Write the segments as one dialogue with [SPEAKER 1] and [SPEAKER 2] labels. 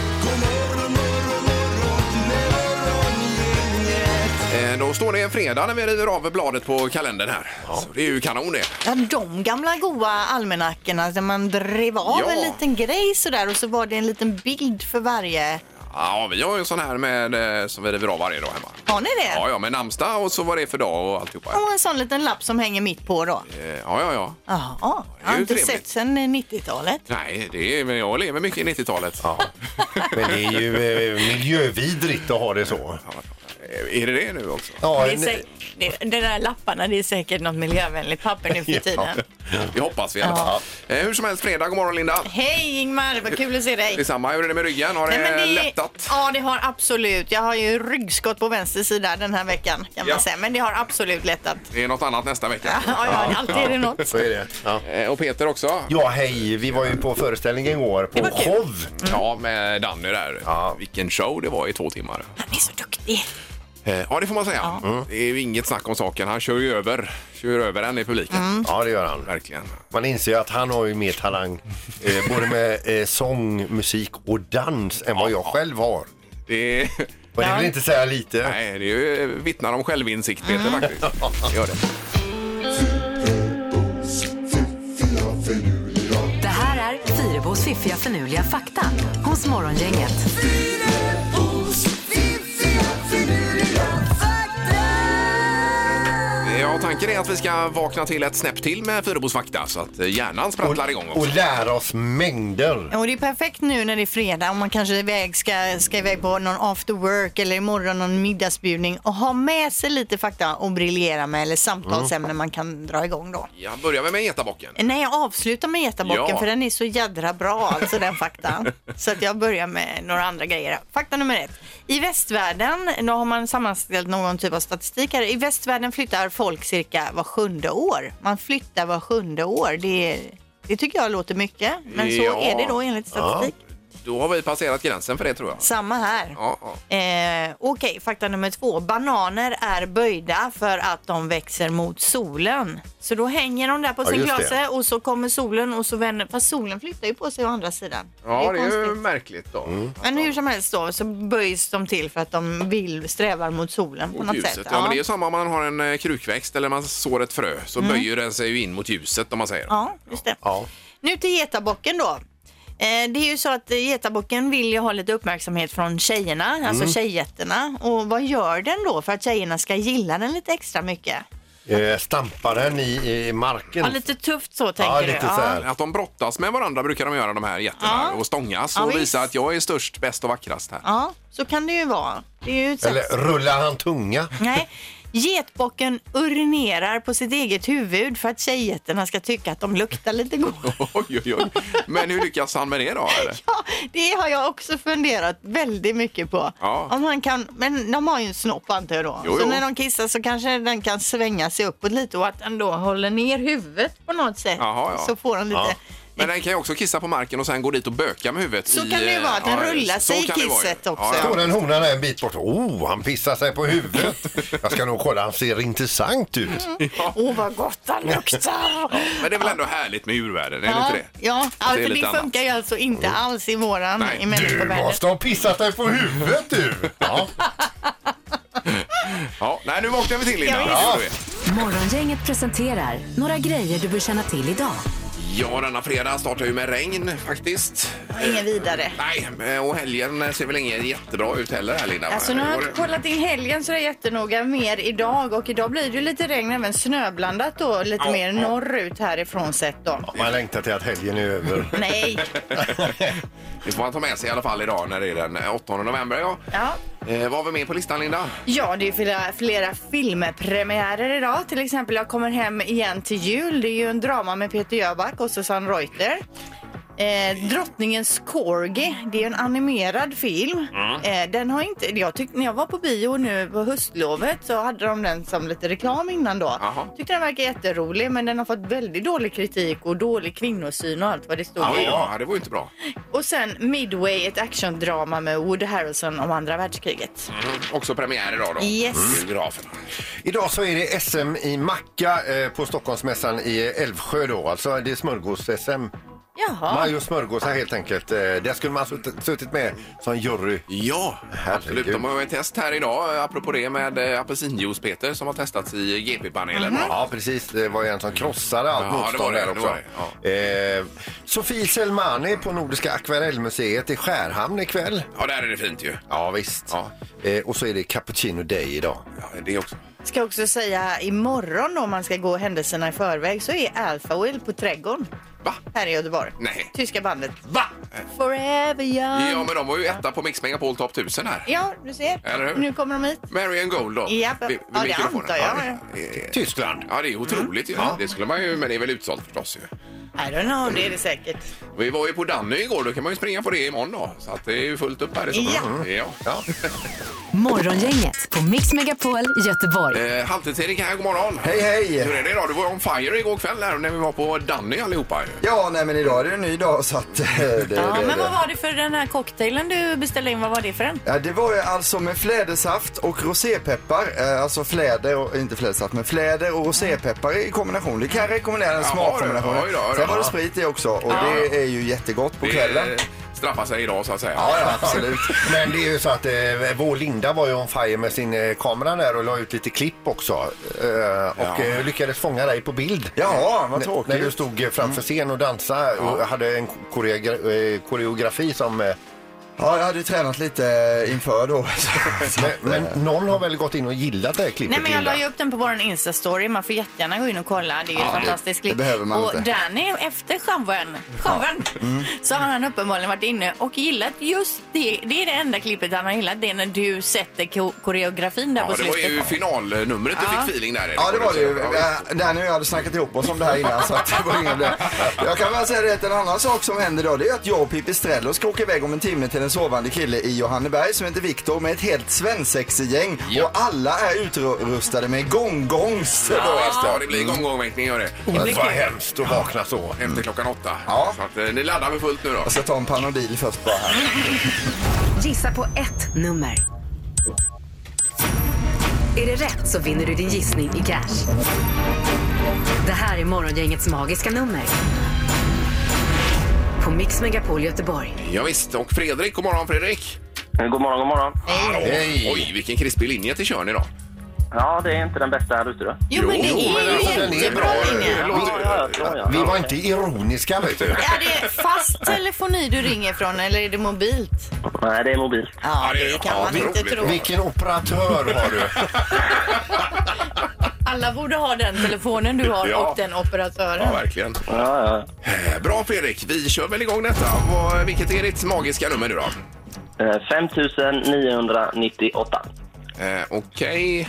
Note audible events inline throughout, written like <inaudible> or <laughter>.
[SPEAKER 1] och Eh, står det en fredag när vi river av bladet på kalendern här. Så det är ju kanon det.
[SPEAKER 2] Ja, de gamla goa almanackorna där man drev av
[SPEAKER 1] Ja.
[SPEAKER 2] en liten grej sådär och så var det en liten bild för varje.
[SPEAKER 1] Ja, vi har ju en sån här med, eh, som vi river av varje dag hemma.
[SPEAKER 2] Har ni det?
[SPEAKER 1] Ja, ja, med namnsdag och så var det för dag och alltihopa.
[SPEAKER 2] Och en sån liten lapp som hänger mitt på då.
[SPEAKER 1] Eh, Ja, ja, ja.
[SPEAKER 2] Jaha, jag
[SPEAKER 1] är
[SPEAKER 2] har
[SPEAKER 1] ju
[SPEAKER 2] inte
[SPEAKER 1] trevligt.
[SPEAKER 2] sett sedan 90-talet.
[SPEAKER 1] Nej, det är, men jag lever mycket i 90-talet.
[SPEAKER 3] Ja. Men det är ju eh, miljövidrigt att ha det så.
[SPEAKER 1] Eh, Är det det nu också?
[SPEAKER 3] Ja,
[SPEAKER 2] Det, är säk- det, det där lapparna, det är säkert något miljövänligt papper
[SPEAKER 1] <laughs>
[SPEAKER 2] nu för tiden.
[SPEAKER 1] Vi hoppas vi i alla fall. Eh, Hur som helst, fredag. God morgon Linda.
[SPEAKER 2] Hej Ingmar, vad kul att se dig.
[SPEAKER 1] Detsamma. Hur är det med ryggen? Har det, lättat?
[SPEAKER 2] Ja, det har absolut. Jag har ju ryggskott på vänster sida den här veckan kan
[SPEAKER 1] Ja.
[SPEAKER 2] man säga. Men det har absolut lättat.
[SPEAKER 1] Det är något annat nästa vecka.
[SPEAKER 2] Ja, ja, alltid är det
[SPEAKER 1] <laughs>
[SPEAKER 2] något.
[SPEAKER 3] så är det. Ja.
[SPEAKER 1] Eh, Och Peter också.
[SPEAKER 3] ja, hej. Vi var ju på föreställning igår på
[SPEAKER 2] var kul.
[SPEAKER 3] Hov.
[SPEAKER 1] Ja, med Danny där.
[SPEAKER 3] Ja.
[SPEAKER 1] Vilken show det var i två timmar.
[SPEAKER 2] Han är så duktig.
[SPEAKER 1] Eh, Ja, det får man säga. Mm. Det är ju inget snack om saken. Han kör ju över, kör över en i publiken.
[SPEAKER 3] Ja, det gör han.
[SPEAKER 1] Verkligen.
[SPEAKER 3] Man inser ju att han har ju mer talang eh, både med eh, sång, musik och dans än vad jag själv har.
[SPEAKER 1] Det är, <laughs>
[SPEAKER 3] Men det vill inte säga lite.
[SPEAKER 1] nej, det är ju vittnar om självinsikt, Peter, faktiskt. Det Gör det.
[SPEAKER 4] Det här är Fyrabos fiffiga förnuliga fakta hos Morgongänget.
[SPEAKER 1] Eh, Ja, tanken är att vi ska vakna till ett snäpp till med Fyrebos fakta så att eh, hjärnan sprattlar igång
[SPEAKER 3] Och
[SPEAKER 1] också.
[SPEAKER 3] lära oss mängder.
[SPEAKER 2] Och det är perfekt nu när det är fredag och man kanske är iväg, ska, ska iväg på någon after work eller imorgon någon middagsbjudning och ha med sig lite fakta och briljera med eller
[SPEAKER 1] Mm.
[SPEAKER 2] samtalsämnen man kan dra igång då.
[SPEAKER 1] Ja, börjar vi med getabocken?
[SPEAKER 2] Nej, jag avslutar med getabocken
[SPEAKER 1] Ja.
[SPEAKER 2] för den är så jädra bra, alltså den
[SPEAKER 1] <laughs>
[SPEAKER 2] faktan. Så att jag börjar med några andra grejer. Fakta nummer ett. I västvärlden, då har man sammanställt någon typ av statistik här. I västvärlden flyttar folk cirka var sjunde år. Man flyttar var sjunde år. Det, är- det tycker jag låter mycket, men så
[SPEAKER 1] Ja.
[SPEAKER 2] är det då enligt statistik.
[SPEAKER 1] Då har vi passerat gränsen för det, tror jag.
[SPEAKER 2] Samma här.
[SPEAKER 1] Ja, ja.
[SPEAKER 2] Eh, Okej, fakta nummer två. Bananer är böjda för att de växer mot solen. Så då hänger de där på sin
[SPEAKER 3] just det.
[SPEAKER 2] klase och så kommer solen och så vänder... Fast solen flyttar ju på sig å andra sidan.
[SPEAKER 1] Ja, det är, ju
[SPEAKER 2] konstigt.
[SPEAKER 1] märkligt då.
[SPEAKER 2] Men hur som helst då så böjs de till för att de vill strävar mot solen på
[SPEAKER 1] Mot
[SPEAKER 2] något
[SPEAKER 1] ljuset.
[SPEAKER 2] sätt.
[SPEAKER 1] Ja, men det är ju samma om man har en eh, krukväxt eller man sår ett frö så böjer den sig ju in mot ljuset om man säger.
[SPEAKER 2] Ja, just det.
[SPEAKER 3] Ja.
[SPEAKER 2] Nu till getabocken då. Eh, Det är ju så att eh, getabocken vill ju ha lite uppmärksamhet från tjejerna, alltså
[SPEAKER 3] Mm.
[SPEAKER 2] tjejjätterna. Och vad gör den då för att tjejerna ska gilla den lite extra mycket?
[SPEAKER 3] Eh, stampa den i, i marken.
[SPEAKER 2] Ja, lite tufft så tänker
[SPEAKER 3] ja,
[SPEAKER 2] du.
[SPEAKER 3] lite
[SPEAKER 2] Ja.
[SPEAKER 3] så här.
[SPEAKER 1] Att de brottas med varandra brukar de göra de här jätterna
[SPEAKER 2] Ja.
[SPEAKER 1] och stångas
[SPEAKER 2] Ja,
[SPEAKER 1] och
[SPEAKER 2] visst.
[SPEAKER 1] visa att jag är störst, bäst och vackrast här.
[SPEAKER 2] Ja, så kan det ju vara. Det är ju ett sätt.
[SPEAKER 3] Eller rullar han tunga?
[SPEAKER 2] Nej. Getbocken urinerar på sitt eget huvud för att tjejjätterna ska tycka att de luktar lite gott.
[SPEAKER 1] <laughs> Oj, oj, oj. Men hur lyckas han med det då? Eller?
[SPEAKER 2] Ja, <laughs> det har jag också funderat väldigt mycket på.
[SPEAKER 1] Ja.
[SPEAKER 2] Om han kan, men de har ju en snopp antar jag då.
[SPEAKER 1] Jo,
[SPEAKER 2] så
[SPEAKER 1] jo.
[SPEAKER 2] när de kissar så kanske den kan svänga sig uppåt lite och att den då håller ner huvudet på något sätt.
[SPEAKER 1] Jaha, ja.
[SPEAKER 2] Så får den lite...
[SPEAKER 3] Ja.
[SPEAKER 1] Men den kan ju också kissa på marken och sen gå dit och böka med huvudet.
[SPEAKER 2] Så
[SPEAKER 1] i,
[SPEAKER 2] kan det ju vara, att den
[SPEAKER 1] ja,
[SPEAKER 2] rullar
[SPEAKER 1] så
[SPEAKER 2] sig i
[SPEAKER 1] kan det vara ju.
[SPEAKER 2] kisset också.
[SPEAKER 3] Står den honan en bit bort. Oh, han pissar sig på huvudet. Jag ska nog kolla, han ser intressant ut.
[SPEAKER 1] Mm,
[SPEAKER 2] Åh, vad gott han luktar!
[SPEAKER 1] Men det är väl ändå härligt med djurvärlden, är det
[SPEAKER 2] Ja,
[SPEAKER 1] inte det?
[SPEAKER 2] ja.
[SPEAKER 1] Att
[SPEAKER 2] alltså
[SPEAKER 1] är
[SPEAKER 2] det,
[SPEAKER 1] lite annat. Mm.
[SPEAKER 2] funkar ju alltså inte alls i våran
[SPEAKER 1] Nej.
[SPEAKER 2] i
[SPEAKER 3] Du
[SPEAKER 2] människovärlden.
[SPEAKER 3] måste ha pissat dig på huvudet du! Ja.
[SPEAKER 1] Ja, nej, nu vaknar vi till Linda.
[SPEAKER 2] Ja,
[SPEAKER 1] Det gjorde vi.
[SPEAKER 4] Morgongänget presenterar några grejer du bör känna till idag.
[SPEAKER 1] Ja, denna fredag startar ju med regn faktiskt.
[SPEAKER 2] Ingen vidare.
[SPEAKER 1] Nej, och helgen ser väl ingen jättebra ut heller här Linda?
[SPEAKER 2] Alltså nu har jag
[SPEAKER 1] Går det-
[SPEAKER 2] inte kollat in helgen så det är jättenoga mer idag och idag blir det ju lite regn även snöblandat då lite
[SPEAKER 1] Ja,
[SPEAKER 2] mer
[SPEAKER 1] ja.
[SPEAKER 2] norrut härifrån sett då.
[SPEAKER 1] <laughs>
[SPEAKER 3] Man längtar till att helgen är över.
[SPEAKER 2] Nej,
[SPEAKER 1] Det får man ta med sig i alla fall idag när det är den 8 november. Ja.
[SPEAKER 2] ja.
[SPEAKER 1] Eh, vad har vi med på listan Linda?
[SPEAKER 2] Ja, det är flera, flera filmpremiärer idag. Till exempel Jag kommer hem igen till jul. Det är ju en drama med Peter Jöback och Susanne Reuter. Eh, Drottningens Corgi, det är ju en animerad film.
[SPEAKER 1] Mm.
[SPEAKER 2] Eh, den har inte, jag tyckte, när jag var på bio nu på höstlovet så hade de den som lite reklam innan då.
[SPEAKER 1] Jaha.
[SPEAKER 2] Tyckte den verkar jätterolig men den har fått väldigt dålig kritik och dålig kvinnosyn och allt vad det stod i.
[SPEAKER 1] ja, det var ju inte bra.
[SPEAKER 2] Och sen Midway, ett actiondrama med Woody Harrelson om andra världskriget.
[SPEAKER 1] Mm. Också premiär idag då. Mm.
[SPEAKER 2] Yes.
[SPEAKER 1] Biograferna.
[SPEAKER 3] Idag så är det SM i macka eh, på Stockholmsmässan i Älvsjö då. Alltså det är smörgås-SM.
[SPEAKER 1] Mm.
[SPEAKER 2] Jaha.
[SPEAKER 3] Majo smörgåsar helt enkelt. Eh, Där skulle man ha sutt- suttit med som jury.
[SPEAKER 1] Ja, absolut. De har ju ett test här idag, eh, apropå det, med eh, apelsinjuice, Peter, som har testats i GP-panelen.
[SPEAKER 3] Ja, precis. Det var ju en som krossade allt
[SPEAKER 1] Ja, det var
[SPEAKER 3] motstånd
[SPEAKER 1] det,
[SPEAKER 3] där
[SPEAKER 1] det
[SPEAKER 3] också.
[SPEAKER 1] var
[SPEAKER 3] Eh, Sofie Selmani på Nordiska Akvarellmuseet i Skärhamn ikväll.
[SPEAKER 1] Ja, där är det fint ju.
[SPEAKER 3] Ja, visst.
[SPEAKER 1] Ja.
[SPEAKER 3] Eh, och så är det Cappuccino Day idag.
[SPEAKER 1] Ja, det också.
[SPEAKER 2] Ska också säga imorgon då, om man ska gå händelserna i förväg så är Alpha Will på Trädgården
[SPEAKER 1] Va?
[SPEAKER 2] här i Göteborg.
[SPEAKER 1] Nej.
[SPEAKER 2] Tyska bandet
[SPEAKER 1] Va?
[SPEAKER 2] Forever Young.
[SPEAKER 1] Ja, men de var ju etta på Mix Megapol Top 1000 här.
[SPEAKER 2] Ja, du ser.
[SPEAKER 1] Eller hur?
[SPEAKER 2] Nu kommer de hit.
[SPEAKER 1] Marian Gold då?
[SPEAKER 2] Ja,
[SPEAKER 1] Vid- vid
[SPEAKER 2] ja, det
[SPEAKER 1] mikrofonen.
[SPEAKER 2] antar jag.
[SPEAKER 1] Ja, det är-
[SPEAKER 3] Tyskland.
[SPEAKER 1] Ja, det är otroligt ju.
[SPEAKER 3] Ja.
[SPEAKER 1] Det skulle man ju, men det är väl utsålt förstås ju.
[SPEAKER 2] I don't know, det är det säkert.
[SPEAKER 1] Vi var ju på Danny igår, då kan man ju springa på det imorgon då. Så att det är ju fullt upp här i sommar. Ja.
[SPEAKER 3] Ja.
[SPEAKER 4] Morgongänget på Mix Megapol Göteborg.
[SPEAKER 1] Eh, Halvtids-Erik här, god morgon.
[SPEAKER 5] Hej, hej.
[SPEAKER 1] Hur är det idag? Du var on fire igår kväll här när vi var på Danny allihopa. ju.
[SPEAKER 5] Ja, nej men idag är det en ny dag så att... eh, Det,
[SPEAKER 2] Ja,
[SPEAKER 5] det,
[SPEAKER 2] men
[SPEAKER 5] det.
[SPEAKER 2] vad var det för den här cocktailen du beställde in? Vad var det för en?
[SPEAKER 5] Ja, det var ju alltså med flädersaft och rosépeppar, eh, alltså fläder och, inte flädersaft, men fläder och rosépeppar i kombination. Det kan jag rekommendera den
[SPEAKER 1] Jaha,
[SPEAKER 5] smakkombinationen.
[SPEAKER 1] oj då, oj då.
[SPEAKER 5] Sen var det sprit i också och det är ju jättegott på kvällen.
[SPEAKER 1] Det eh, straffar sig idag så att säga.
[SPEAKER 5] Ja, ja,
[SPEAKER 2] <laughs>
[SPEAKER 5] absolut.
[SPEAKER 3] Men det är ju så att eh, vår Linda var ju on fire med sin eh, kamera där och la ut lite klipp också. Eh, och eh, lyckades fånga dig på bild.
[SPEAKER 5] Jaha, vad
[SPEAKER 3] N-
[SPEAKER 5] tråkigt.
[SPEAKER 3] När du stod eh, framför scen och dansade och hade en koreogra- eh, koreografi som... eh,
[SPEAKER 5] Ja, jag hade ju tränat lite inför då. <laughs> Så att,
[SPEAKER 3] Men,
[SPEAKER 5] eh,
[SPEAKER 3] men någon har väl gått in och gillat det här klippet
[SPEAKER 2] Nej men jag la ju
[SPEAKER 3] Linda?
[SPEAKER 2] upp den på vår Insta-story. Man får jättegärna gå in och kolla. Det är ju ett fantastiskt klipp.
[SPEAKER 5] det behöver man
[SPEAKER 2] och
[SPEAKER 5] inte.
[SPEAKER 2] Danny, efter showen, showen så har han uppenbarligen varit inne och gillat just det. Det är det enda klippet han har gillat. Det är när du sätter ko- koreografin där
[SPEAKER 1] Ja,
[SPEAKER 2] på
[SPEAKER 1] det var
[SPEAKER 2] slutet.
[SPEAKER 1] ju finalnumret du
[SPEAKER 2] Ja.
[SPEAKER 1] fick feeling där. Erik.
[SPEAKER 5] Ja, det var det ju.
[SPEAKER 1] Ja,
[SPEAKER 5] Eh, Danny och jag hade snackat ihop oss om det här innan så att det var inga problem. Jag kan väl säga det att en annan sak som händer då det är att jag och Pippi Strello ska åka iväg om en timme till en sovande kille i Johanneberg som heter Viktor med ett helt svensexigäng
[SPEAKER 1] Ja.
[SPEAKER 5] och alla är utrustade med gonggongs.
[SPEAKER 1] Ja, visst, ja, det blir gång-gång-väckning gör det.
[SPEAKER 3] Vad hemskt att vakna så.
[SPEAKER 1] Efter klockan åtta.
[SPEAKER 5] Ja.
[SPEAKER 1] Så att, eh, ni laddar med fullt nu då.
[SPEAKER 5] Jag ska ta en Panodil först bara här.
[SPEAKER 4] Gissa på ett nummer. Är det rätt så vinner du din gissning i cash. Det här är Morgongängets magiska nummer. På Mix Megapol Göteborg.
[SPEAKER 1] Ja, visst. och Fredrik, god morgon Fredrik.
[SPEAKER 6] Eh, God morgon, god morgon.
[SPEAKER 1] Hallå.
[SPEAKER 3] Hej.
[SPEAKER 1] Oj, vilken krispig linje till Tjörn idag.
[SPEAKER 6] Ja, det är inte den bästa här ute då.
[SPEAKER 2] Jo, men det
[SPEAKER 1] Jo,
[SPEAKER 2] är
[SPEAKER 1] men
[SPEAKER 2] ju
[SPEAKER 1] alltså,
[SPEAKER 3] den är
[SPEAKER 2] jättebra
[SPEAKER 3] bra.
[SPEAKER 2] linje.
[SPEAKER 6] Ja, ja, ja, ja.
[SPEAKER 3] Vi var inte ironiska vet du.
[SPEAKER 2] Är det fast telefoni du ringer från eller är det mobilt?
[SPEAKER 6] Nej, det är mobilt.
[SPEAKER 2] Ja,
[SPEAKER 1] det är-
[SPEAKER 2] det kan
[SPEAKER 1] ja,
[SPEAKER 2] man
[SPEAKER 1] det är
[SPEAKER 2] inte
[SPEAKER 1] roligt.
[SPEAKER 2] tro.
[SPEAKER 3] Vilken operatör har du?
[SPEAKER 2] Alla borde ha den telefonen du har
[SPEAKER 1] Ja.
[SPEAKER 2] och den operatören.
[SPEAKER 1] Ja, verkligen.
[SPEAKER 6] Ja, ja.
[SPEAKER 1] Eh, Bra Fredrik, vi kör väl igång detta. Vad- Vilket är ditt magiska nummer nu då?
[SPEAKER 6] Eh, 5998.
[SPEAKER 1] Eh, Okej.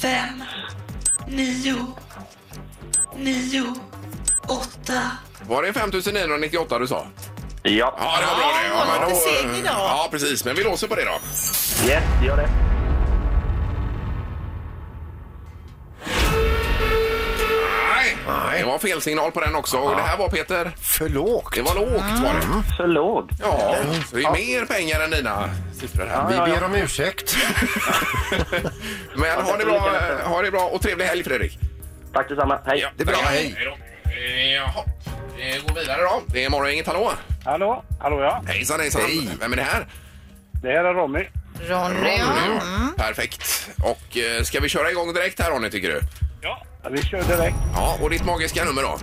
[SPEAKER 7] Fem, nio, nio, åtta,
[SPEAKER 1] Var det 5998 du sa?
[SPEAKER 6] Ja.
[SPEAKER 1] Ja, det var bra det.
[SPEAKER 2] Ja,
[SPEAKER 1] men
[SPEAKER 2] lite
[SPEAKER 1] då-
[SPEAKER 2] seg idag.
[SPEAKER 1] Ja, precis. Men vi låser på det då.
[SPEAKER 6] Yes, gör det.
[SPEAKER 1] Nej, det var fel signal på den också. Och det här var Peter.
[SPEAKER 3] För lågt.
[SPEAKER 1] Det var lågt var det.
[SPEAKER 6] För låg.
[SPEAKER 1] Ja, så det är mer pengar än dina siffror här.
[SPEAKER 3] Vi ber om ursäkt.
[SPEAKER 1] Men ha det bra, ha det bra och trevlig helg Fredrik.
[SPEAKER 6] Tack detsamma. Hej.
[SPEAKER 3] Det är bra,
[SPEAKER 1] Tackar.
[SPEAKER 3] hej.
[SPEAKER 1] då. Eh, Jaha, vi går vidare då. Det är Morgongänget, hallå!
[SPEAKER 8] Hallå, hallå ja.
[SPEAKER 1] Hejsan hejsan!
[SPEAKER 3] Hej.
[SPEAKER 1] Vem är det här?
[SPEAKER 8] Det här är Ronny.
[SPEAKER 2] Ronny, ja. Mm.
[SPEAKER 1] Perfekt. Och eh, ska vi köra igång direkt här Ronny tycker du?
[SPEAKER 8] Ja. Vi kör direkt.
[SPEAKER 1] Ja, och ditt magiska nummer då?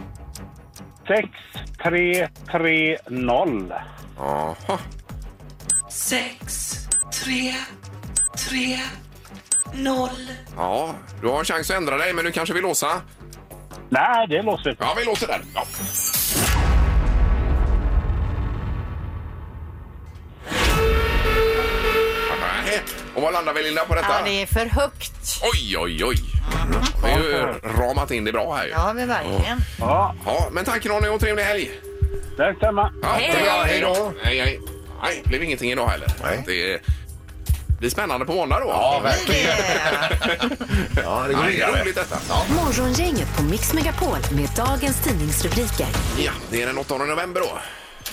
[SPEAKER 8] 6330.
[SPEAKER 1] Jaha.
[SPEAKER 7] sex, tre, tre, noll.
[SPEAKER 1] Ja, du har en chans att ändra dig men du kanske vill låsa?
[SPEAKER 8] Nej, det låser inte.
[SPEAKER 1] Ja, vi låser den. Ja. Nej, Och vad landar vi Linda på detta?
[SPEAKER 2] ja, det är för högt.
[SPEAKER 1] Oj, oj, oj! Vi har ju ramat in det bra här ju.
[SPEAKER 2] Ja, men verkligen.
[SPEAKER 8] Ja,
[SPEAKER 1] Ja, men tack Ronny och trevlig helg!
[SPEAKER 8] det stämmer.
[SPEAKER 1] Ja,
[SPEAKER 2] Hej,
[SPEAKER 1] det är bra.
[SPEAKER 2] hej.
[SPEAKER 1] hej då! Hej, hej. Nej, det blev ingenting idag heller.
[SPEAKER 3] Nej.
[SPEAKER 1] Det är- blir spännande på måndag då.
[SPEAKER 3] Ja, verkligen.
[SPEAKER 2] Eh,
[SPEAKER 3] Ja, det går
[SPEAKER 1] Nej, det är
[SPEAKER 3] vidare.
[SPEAKER 1] roligt detta.
[SPEAKER 4] Morgongänget på Mix Megapol med dagens tidningsrubriker.
[SPEAKER 1] Ja, det är den 8 november då.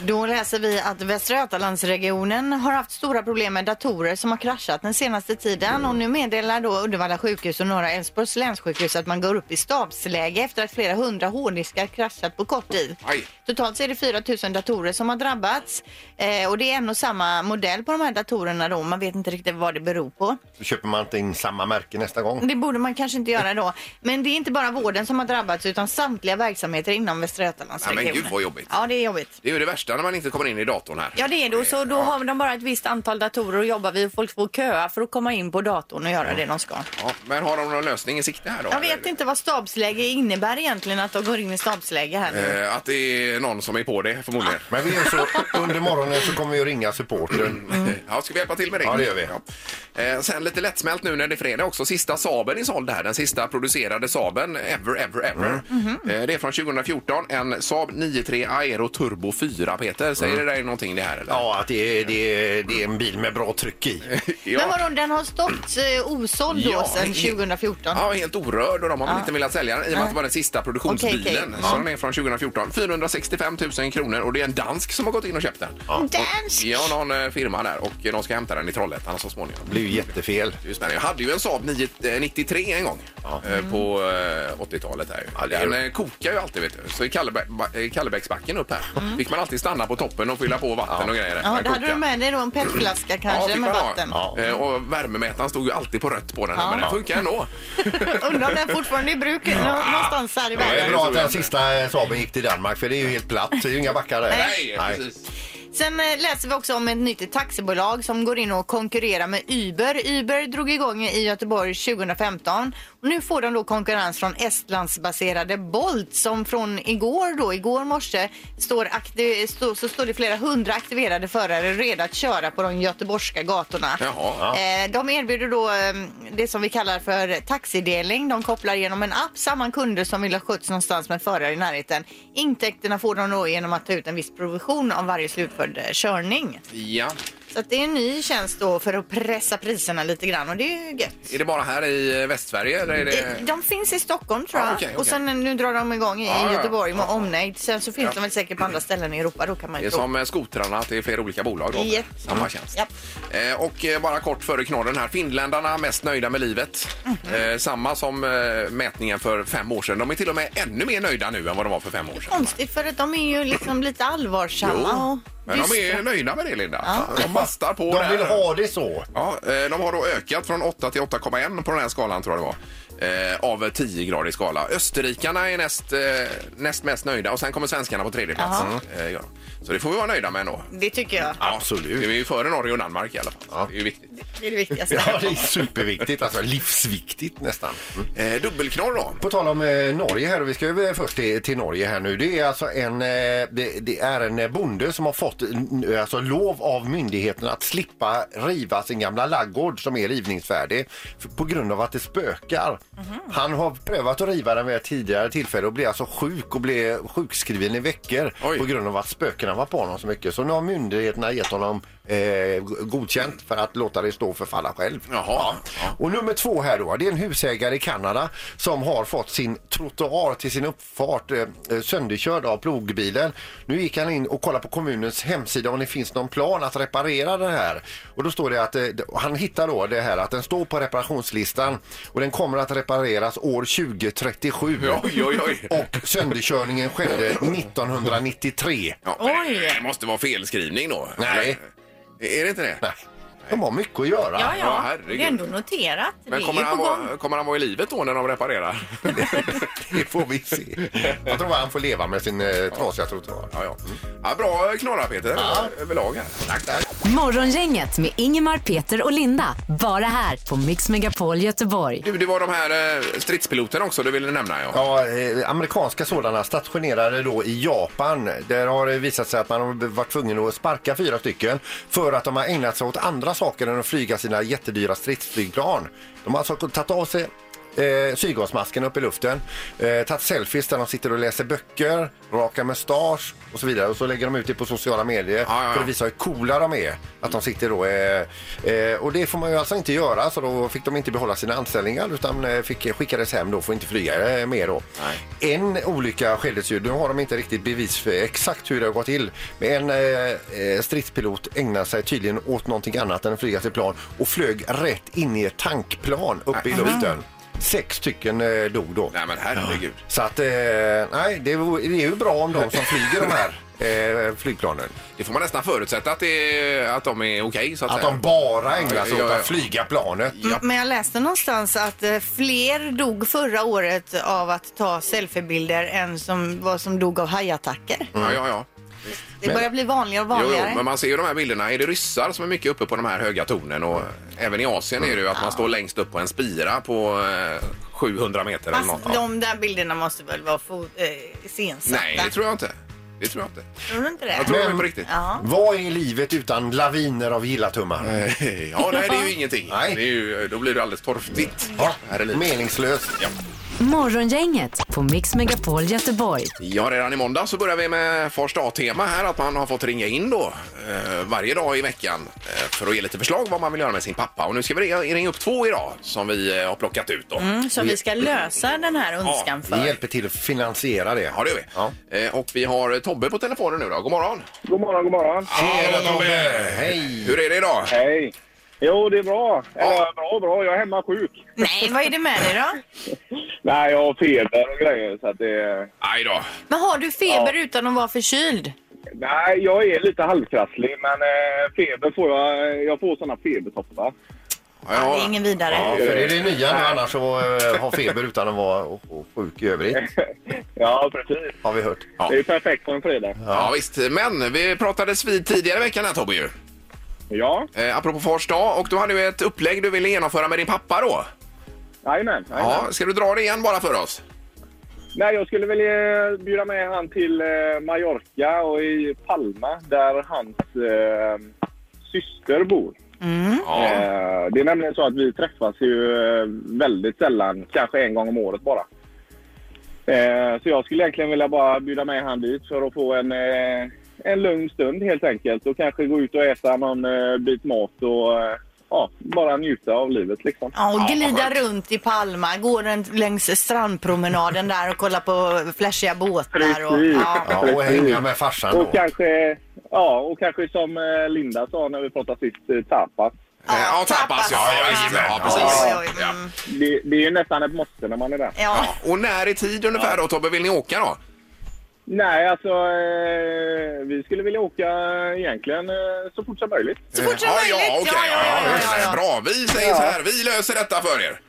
[SPEAKER 2] Då läser vi att Västra Götalandsregionen har haft stora problem med datorer som har kraschat den senaste tiden och nu meddelar då Uddevalla sjukhus och Norra Älvsborgs länssjukhus att man går upp i stabsläge efter att flera hundra hårddiskar kraschat på kort tid.
[SPEAKER 1] Aj.
[SPEAKER 2] Totalt så är det 4 000 datorer som har drabbats eh, och det är en och samma modell på de här datorerna då. Man vet inte riktigt vad det beror på.
[SPEAKER 3] Då köper man inte in samma märke nästa gång.
[SPEAKER 2] Det borde man kanske inte göra då. Men det är inte bara vården som har drabbats utan samtliga verksamheter inom Västra Götalandsregionen.
[SPEAKER 1] Nej, men gud, vad jobbigt.
[SPEAKER 2] Ja, det är jobbigt.
[SPEAKER 1] Det är ju det värsta när man inte kommer in i datorn här.
[SPEAKER 2] Ja, det är det. Och Så då har de bara ett visst antal datorer att jobba vid och folk får köa för att komma in på datorn och göra det de ska.
[SPEAKER 1] Ja, men har de någon lösning i sikte här då?
[SPEAKER 2] Jag vet inte vad stabsläge innebär egentligen att de går in i stabsläge här nu.
[SPEAKER 1] Eh, att det är någon som är på det förmodligen.
[SPEAKER 3] Men vi gör så, under morgonen så kommer vi att ringa supporten.
[SPEAKER 1] <laughs> Ja, ska vi hjälpa till med det?
[SPEAKER 3] Ja, det gör vi.
[SPEAKER 1] Ja. Eh, sen lite lättsmält nu när det är fredag också. Sista Saben är såld här. Den sista producerade Saben ever, ever, ever. Eh, det är från 2014. En Saab 93 Aero Turbo 4, Peter. Säger det dig någonting det här eller?
[SPEAKER 3] Ja, att det är, det, är, det är en bil med bra tryck i.
[SPEAKER 1] Ja.
[SPEAKER 2] Men vadå, den har stått eh, osåld då
[SPEAKER 1] Ja,
[SPEAKER 2] sedan
[SPEAKER 1] he-
[SPEAKER 2] 2014?
[SPEAKER 1] Ja, helt orörd och de har väl inte velat sälja den i och med att det var den sista produktionsbilen.
[SPEAKER 2] Okej, okej.
[SPEAKER 1] Så den är från 2014. 465 000 kronor och det är en dansk som har gått in och köpt den.
[SPEAKER 2] Dansk!
[SPEAKER 1] Ja, någon eh, firma där och de ska hämta den i Trollhättan så småningom.
[SPEAKER 3] Det blir ju jättefel.
[SPEAKER 1] Det är ju spännande. Jag hade ju en Saab 9, eh, 93 en gång eh, på eh, 80-talet. Här.
[SPEAKER 3] Mm. Ja,
[SPEAKER 1] ju.
[SPEAKER 3] det är-
[SPEAKER 1] Den eh, kokar ju alltid. Vet du. Så i Kallebä- ba- eh, Kallebäcksbacken upp här
[SPEAKER 3] Mm.
[SPEAKER 1] fick man alltid stanna på toppen och fylla på vatten och grejer. Den
[SPEAKER 2] Ja, då hade
[SPEAKER 1] kokar.
[SPEAKER 2] du med dig då en petflaska
[SPEAKER 1] Ja,
[SPEAKER 2] kanske
[SPEAKER 1] fick
[SPEAKER 2] med
[SPEAKER 1] man ha.
[SPEAKER 2] vatten.
[SPEAKER 1] Ja. Eh, Och värmemätaren stod ju alltid på rött på den. här,
[SPEAKER 2] Ja.
[SPEAKER 1] Men den funkar ändå.
[SPEAKER 2] Undrar om den fortfarande är i bruk nå- någonstans här i
[SPEAKER 3] Det är
[SPEAKER 2] världen.
[SPEAKER 3] bra att den sista eh, Saaben gick till Danmark för det är ju helt platt. Det är ju inga backar där.
[SPEAKER 1] Nej, precis.
[SPEAKER 2] Sen eh, läser vi också om ett nytt taxibolag som går in och konkurrerar med Uber. Uber drog igång i Göteborg 2015 och nu får de då konkurrens från Estlandsbaserade Bolt som från igår då, igår morse, står akti- stå, så står det flera hundra aktiverade förare redo att köra på de göteborgska gatorna.
[SPEAKER 1] Jaha.
[SPEAKER 2] Eh, De erbjuder då eh, det som vi kallar för taxidelning. De kopplar genom en app samman kunder som vill ha skjuts någonstans med förare i närheten. Intäkterna får de då genom att ta ut en viss provision av varje slutförd eh, körning.
[SPEAKER 1] Ja.
[SPEAKER 2] Så att det är en ny tjänst då för att pressa priserna lite grann och det är ju gött.
[SPEAKER 1] Är det bara här i eh, Västsverige? Eller är det...
[SPEAKER 2] Eh, De finns i Stockholm tror jag.
[SPEAKER 1] Ja, okej, okej. Ah,
[SPEAKER 2] Och sen eh, nu drar de igång i
[SPEAKER 1] Ja, ja, ja.
[SPEAKER 2] Göteborg med omnejd. Sen så finns
[SPEAKER 1] Ja.
[SPEAKER 2] de väl säkert på andra ställen i Europa då kan man
[SPEAKER 1] Det
[SPEAKER 2] ju
[SPEAKER 1] är
[SPEAKER 2] tro.
[SPEAKER 1] som eh, skotrarna, att det är flera olika bolag. Då.
[SPEAKER 2] Japp.
[SPEAKER 1] Samma tjänst.
[SPEAKER 2] Japp.
[SPEAKER 1] Eh, och eh, bara kort före knorren här. Finländarna mest nöjda med livet.
[SPEAKER 2] Mhm.
[SPEAKER 1] Eh, samma som eh, mätningen för fem år sedan. De är till och med ännu mer nöjda nu än vad de var för fem år sedan.
[SPEAKER 2] Konstigt för att de är ju liksom lite allvarsamma
[SPEAKER 1] Jo,
[SPEAKER 2] och
[SPEAKER 1] men de är
[SPEAKER 2] dystra.
[SPEAKER 1] nöjda med det, Linda. De bastar på
[SPEAKER 3] De
[SPEAKER 1] där.
[SPEAKER 3] vill ha det så.
[SPEAKER 1] Ja, eh, de har då ökat från 8 till 8,1 på den här skalan tror jag det var. Eh, av 10 gradig skala. Österrikarna är näst, eh, näst mest nöjda och sen kommer svenskarna på tredje plats. Eh, ja. Så det får vi vara nöjda med ändå.
[SPEAKER 2] Det tycker jag.
[SPEAKER 1] Absolut. Vi är ju före Norge och Danmark i alla fall. Det är ju viktigt.
[SPEAKER 2] Det är det viktigaste.
[SPEAKER 3] Ja, det är superviktigt. Alltså livsviktigt nästan. Mm.
[SPEAKER 1] Eh, dubbelknorr då.
[SPEAKER 3] På tal om eh, Norge här, och vi ska ju först till, till Norge här nu. Det är alltså en, eh, det, det är en bonde som har fått eh, alltså, lov av myndigheten att slippa riva sin gamla laggård som är rivningsfärdig f- på grund av att det spökar. Han har prövat att riva den vid ett tidigare tillfälle och blev alltså sjuk och blev sjukskriven i veckor
[SPEAKER 1] Oj.
[SPEAKER 3] på grund av att spökena var på honom så mycket. Så nu har myndigheterna gett honom eh, godkänt för att låta det stå och förfalla själv.
[SPEAKER 1] Jaha.
[SPEAKER 3] Och nummer två här då, det är en husägare i Kanada som har fått sin trottoar till sin uppfart eh, eh, sönderkörd av plogbilen. Nu gick han in och kollade på kommunens hemsida om det finns någon plan att reparera det här. Och då står det att eh, d- han hittar då det här att den står på reparationslistan och den kommer att repareras år 2037.
[SPEAKER 1] Oj, oj, oj.
[SPEAKER 3] Och sönderkörningen skedde 1993.
[SPEAKER 1] Ja, men
[SPEAKER 2] Oj.
[SPEAKER 1] Det, det måste vara felskrivning då.
[SPEAKER 3] Nej.
[SPEAKER 1] Eller? Är det inte det?
[SPEAKER 3] Nej, de har mycket att göra.
[SPEAKER 2] Ja,
[SPEAKER 1] Ja,
[SPEAKER 2] ja.
[SPEAKER 1] herregud.
[SPEAKER 2] Det är ändå noterat.
[SPEAKER 1] Men
[SPEAKER 2] det är
[SPEAKER 1] kommer
[SPEAKER 2] ju på
[SPEAKER 1] han,
[SPEAKER 2] gång.
[SPEAKER 1] vara, kommer han vara i livet då när de reparerar?
[SPEAKER 3] <laughs> Det får vi se. Jag tror att han får leva med sin eh, trasiga trottoar.
[SPEAKER 1] Ja, ja. ja, bra knorrar Peter överlag här. Tack, tack.
[SPEAKER 4] Morgongänget med Ingemar, Peter och Linda. Bara här på Mix Megapol Göteborg.
[SPEAKER 1] Du, det var de här eh, stridspiloterna också du ville nämna ja.
[SPEAKER 3] Ja, eh, amerikanska sådana stationerade då i Japan. Där har det visat sig att man har varit tvungen att sparka fyra stycken för att de har ägnat sig åt andra saker än att flyga sina jättedyra stridsflygplan. De har alltså tagit av sig eh, syrgasmasken upp i luften, eh, tagit selfies där de sitter och läser böcker, rakar mustasch och så vidare. Och så lägger de ut det på sociala medier
[SPEAKER 1] Ja, ja, ja.
[SPEAKER 3] för att visa hur coola de är. Att de sitter då... Eh, eh, och det får man ju alltså inte göra, så då fick de inte behålla sina anställningar utan eh, fick, skickades hem då, får inte flyga eh, mer då. En olycka skeddes ju, nu har de inte riktigt bevis för exakt hur det har gått till, men en eh, eh, stridspilot ägnade sig tydligen åt någonting annat än att flyga sitt plan och flög rätt in i ett tankplan uppe i luften. Sex stycken eh, dog då.
[SPEAKER 1] Nej men herregud.
[SPEAKER 3] Så att, eh, nej, det, vore- det är ju bra om de som flyger de här eh, flygplanen.
[SPEAKER 1] Det får man nästan förutsätta att, det, att de är okej så att,
[SPEAKER 3] Att
[SPEAKER 1] säga.
[SPEAKER 3] de bara ägnar sig
[SPEAKER 1] Ja,
[SPEAKER 3] åt
[SPEAKER 1] ja, ja.
[SPEAKER 3] att flyga planet.
[SPEAKER 1] Ja.
[SPEAKER 2] Men jag läste någonstans att eh, fler dog förra året av att ta selfiebilder än som, vad som dog av hajattacker.
[SPEAKER 1] Ja, ja, ja.
[SPEAKER 2] Det börjar bli vanligare och
[SPEAKER 1] Jo, jo,
[SPEAKER 2] vanligare.
[SPEAKER 1] men man ser ju de här bilderna. Är det ryssar som är mycket uppe på de här höga tornen? Och även i Asien är det ju att man står längst upp på en spira på eh, 700 meter eller något.
[SPEAKER 2] Fast de där bilderna måste väl vara fo- eh, iscensatta?
[SPEAKER 1] Nej, det tror jag inte. Det tror jag
[SPEAKER 2] <laughs>
[SPEAKER 1] inte.
[SPEAKER 2] Tror du inte det?
[SPEAKER 1] Jag tror de är på riktigt.
[SPEAKER 2] Ja.
[SPEAKER 3] Vad är livet utan laviner av gillatummar?
[SPEAKER 1] Eh, Ja, nej, det är ju ingenting.
[SPEAKER 3] Nej.
[SPEAKER 1] Det är ju, då blir det alldeles torftigt. Här är livet.
[SPEAKER 3] Meningslöst.
[SPEAKER 1] Ja.
[SPEAKER 4] Morgongänget på Mix Megapol Göteborg.
[SPEAKER 1] Ja, redan i måndag så börjar vi med Fars dag-tema här, att man har fått ringa in då eh, varje dag i veckan eh, för att ge lite förslag vad man vill göra med sin pappa. Och nu ska vi ringa- ringa upp två idag som vi eh, har plockat ut då.
[SPEAKER 2] Mm, Så vi ska lösa den här önskan
[SPEAKER 3] Vi
[SPEAKER 2] för.
[SPEAKER 3] hjälper till att finansiera det.
[SPEAKER 1] Ja, det gör vi.
[SPEAKER 3] Ja.
[SPEAKER 1] Eh, och vi har eh, Tobbe på telefonen nu då. God morgon!
[SPEAKER 8] God morgon, god morgon.
[SPEAKER 1] Tjena Tobbe!
[SPEAKER 3] Hej!
[SPEAKER 1] Hur är det idag?
[SPEAKER 8] Hej. Jo, det är bra.
[SPEAKER 1] Ja.
[SPEAKER 8] Eller bra, bra. Jag är hemma sjuk.
[SPEAKER 2] Nej, vad är det med dig då?
[SPEAKER 8] Nej, jag har feber och grejer så att det...
[SPEAKER 1] Aj då.
[SPEAKER 2] Men har du feber utan att vara förkyld?
[SPEAKER 8] Nej, jag är lite halvkrasslig men eh, feber får jag... Jag får såna febertoppar.
[SPEAKER 2] Ja. Det är ingen vidare.
[SPEAKER 3] Ja, för det är det nya nu annars att eh, ha feber utan att vara och, och sjuk i övrigt,
[SPEAKER 8] Ja, precis.
[SPEAKER 3] har vi hört.
[SPEAKER 1] Ja.
[SPEAKER 8] Det är perfekt på en fredag.
[SPEAKER 1] Ja, visst, men vi pratades vid tidigare i veckan här Tobbe ju.
[SPEAKER 8] Ja,
[SPEAKER 1] Eh, apropå Fars dag och du hade ju ett upplägg du ville genomföra med din pappa då.
[SPEAKER 8] jajamän. jajamän.
[SPEAKER 1] Ja, ska du dra det igen bara för oss?
[SPEAKER 8] Nej, jag skulle vilja eh, bjuda med han till eh, Mallorca och i Palma där hans eh, syster bor.
[SPEAKER 2] Mm.
[SPEAKER 1] Ja.
[SPEAKER 8] Eh, det är nämligen så att vi träffas ju eh, väldigt sällan, kanske en gång om året bara. Eh, så jag skulle egentligen vilja bara bjuda med han dit för att få en, eh, en lugn stund helt enkelt och kanske gå ut och äta någon eh, bit mat och eh, ja, bara njuta av livet liksom.
[SPEAKER 2] Ja, och
[SPEAKER 1] Ja,
[SPEAKER 2] glida
[SPEAKER 1] skönt.
[SPEAKER 2] runt i Palma, gå runt längs strandpromenaden där och kolla på flashiga båtar. Och,
[SPEAKER 8] Precis.
[SPEAKER 2] ja.
[SPEAKER 3] Ja, och hänga med farsan
[SPEAKER 8] Och
[SPEAKER 3] då.
[SPEAKER 8] kanske, ja, och kanske som eh, Linda sa när vi pratade sist, eh, tapas.
[SPEAKER 1] Eh, Ja, tapas ja. Ja,
[SPEAKER 2] tapas.
[SPEAKER 1] jajamän, ja,
[SPEAKER 2] Oj,
[SPEAKER 1] precis.
[SPEAKER 2] oj, oj,
[SPEAKER 1] Ja.
[SPEAKER 2] mm.
[SPEAKER 8] Det, det är ju nästan ett måste när man är där.
[SPEAKER 2] Ja.
[SPEAKER 1] Ja, och när i tid ungefär då Tobbe vill ni åka då?
[SPEAKER 8] Nej, alltså eh, vi skulle vilja åka egentligen eh, så fort som möjligt.
[SPEAKER 2] Så fort som
[SPEAKER 1] ja,
[SPEAKER 2] möjligt.
[SPEAKER 1] Ja, okej, ja, ja,
[SPEAKER 2] ja,
[SPEAKER 1] just
[SPEAKER 2] ja,
[SPEAKER 1] det.
[SPEAKER 2] ja.
[SPEAKER 1] Bra, vi säger så här, vi löser detta för er.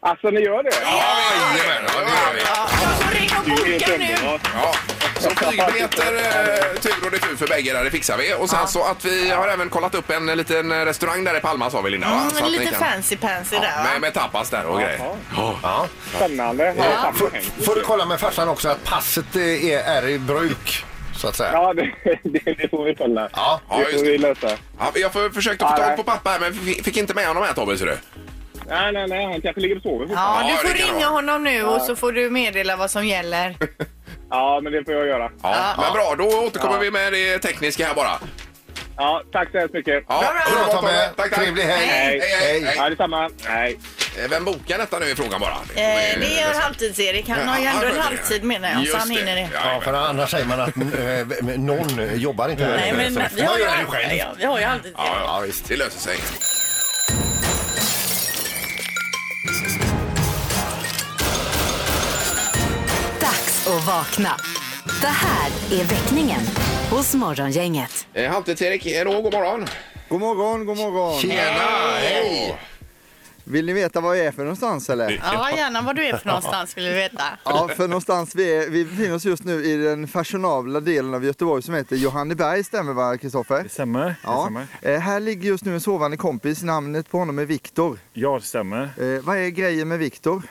[SPEAKER 8] Alltså ni gör det?
[SPEAKER 1] Jajamän, ja, det gör vi.
[SPEAKER 2] Ja, så ring och
[SPEAKER 8] Det är helt
[SPEAKER 2] boka nu.
[SPEAKER 8] underbart.
[SPEAKER 1] Ja, så flygbiljetter, eh, tur och retur för bägge där, det fixar vi. Och sen så att vi har även kollat upp en liten restaurang där i Palma sa vi Linda va? Så
[SPEAKER 2] Mm,
[SPEAKER 1] att ni
[SPEAKER 2] lite
[SPEAKER 1] kan-
[SPEAKER 2] fancy pansy där.
[SPEAKER 1] Ja,
[SPEAKER 2] va?
[SPEAKER 1] med, med tapas där och grejer. Ja.
[SPEAKER 3] Ja.
[SPEAKER 8] Spännande. Ja, tack
[SPEAKER 3] Får,
[SPEAKER 8] för hängt.
[SPEAKER 3] får du kolla med farsan också att passet eh, är, är i bruk, så att säga?
[SPEAKER 8] Ja, det, det, det får vi kolla.
[SPEAKER 3] Ja.
[SPEAKER 1] Ja,
[SPEAKER 8] det
[SPEAKER 1] just
[SPEAKER 8] får
[SPEAKER 1] det.
[SPEAKER 8] vi lösa.
[SPEAKER 1] Ja, jag för, försökte få
[SPEAKER 8] Ja,
[SPEAKER 1] tag
[SPEAKER 8] nej.
[SPEAKER 1] på pappa här men fi- fick inte med honom här Tobbe ser du.
[SPEAKER 8] Nej, nej, nej. Han kanske ligger och sover fortfarande.
[SPEAKER 2] Ja,
[SPEAKER 1] Ja,
[SPEAKER 2] du får
[SPEAKER 1] det kan
[SPEAKER 2] ringa
[SPEAKER 1] vara.
[SPEAKER 2] honom nu och så får du meddela vad som gäller.
[SPEAKER 8] Ja, men det får jag göra.
[SPEAKER 1] Ja, men bra, då återkommer vi med det tekniska här bara.
[SPEAKER 8] Ja, tack så hemskt mycket.
[SPEAKER 1] Ja,
[SPEAKER 3] Bra
[SPEAKER 1] underbart, Tobbe.
[SPEAKER 3] Tobbe!
[SPEAKER 1] Tack, tack.
[SPEAKER 3] Trevlig helg!
[SPEAKER 8] Hej.
[SPEAKER 1] Hej, hej,
[SPEAKER 8] Ja, detsamma. Hej.
[SPEAKER 1] Eh, Vem bokar detta nu i frågan bara?
[SPEAKER 2] Eh, det gör halvtids-Erik. Han har ju ändå en halvtid menar jag, så han hinner det.
[SPEAKER 1] Ja,
[SPEAKER 3] Ja, för annars säger man att eh, någon jobbar inte här.
[SPEAKER 2] Nej, men
[SPEAKER 3] Så-
[SPEAKER 2] vi har ju,
[SPEAKER 3] Man gör det själv.
[SPEAKER 2] ja, vi har ju halvtids
[SPEAKER 1] Ja, ja.
[SPEAKER 3] Ja, visst.
[SPEAKER 1] Det löser sig.
[SPEAKER 4] Dags att vakna. Det här är väckningen hos Morgongänget.
[SPEAKER 1] Eh, Halvtids-Erik, eh, då, god morgon.
[SPEAKER 5] God morgon, god morgon.
[SPEAKER 1] Tjena! Hej!
[SPEAKER 5] Vill ni veta var jag är för någonstans eller?
[SPEAKER 2] Ja, gärna var du är för någonstans skulle vi veta.
[SPEAKER 5] Ja, för någonstans vi, är, vi befinner oss just nu i den fashionabla delen av Göteborg som heter Johanneberg, stämmer va Kristoffer?
[SPEAKER 9] Det stämmer. Ja. Det
[SPEAKER 5] Ja.
[SPEAKER 9] stämmer.
[SPEAKER 5] Eh, här ligger just nu en sovande kompis, namnet på honom är Viktor.
[SPEAKER 9] Ja, det stämmer.
[SPEAKER 5] Eh, vad är grejen med Viktor?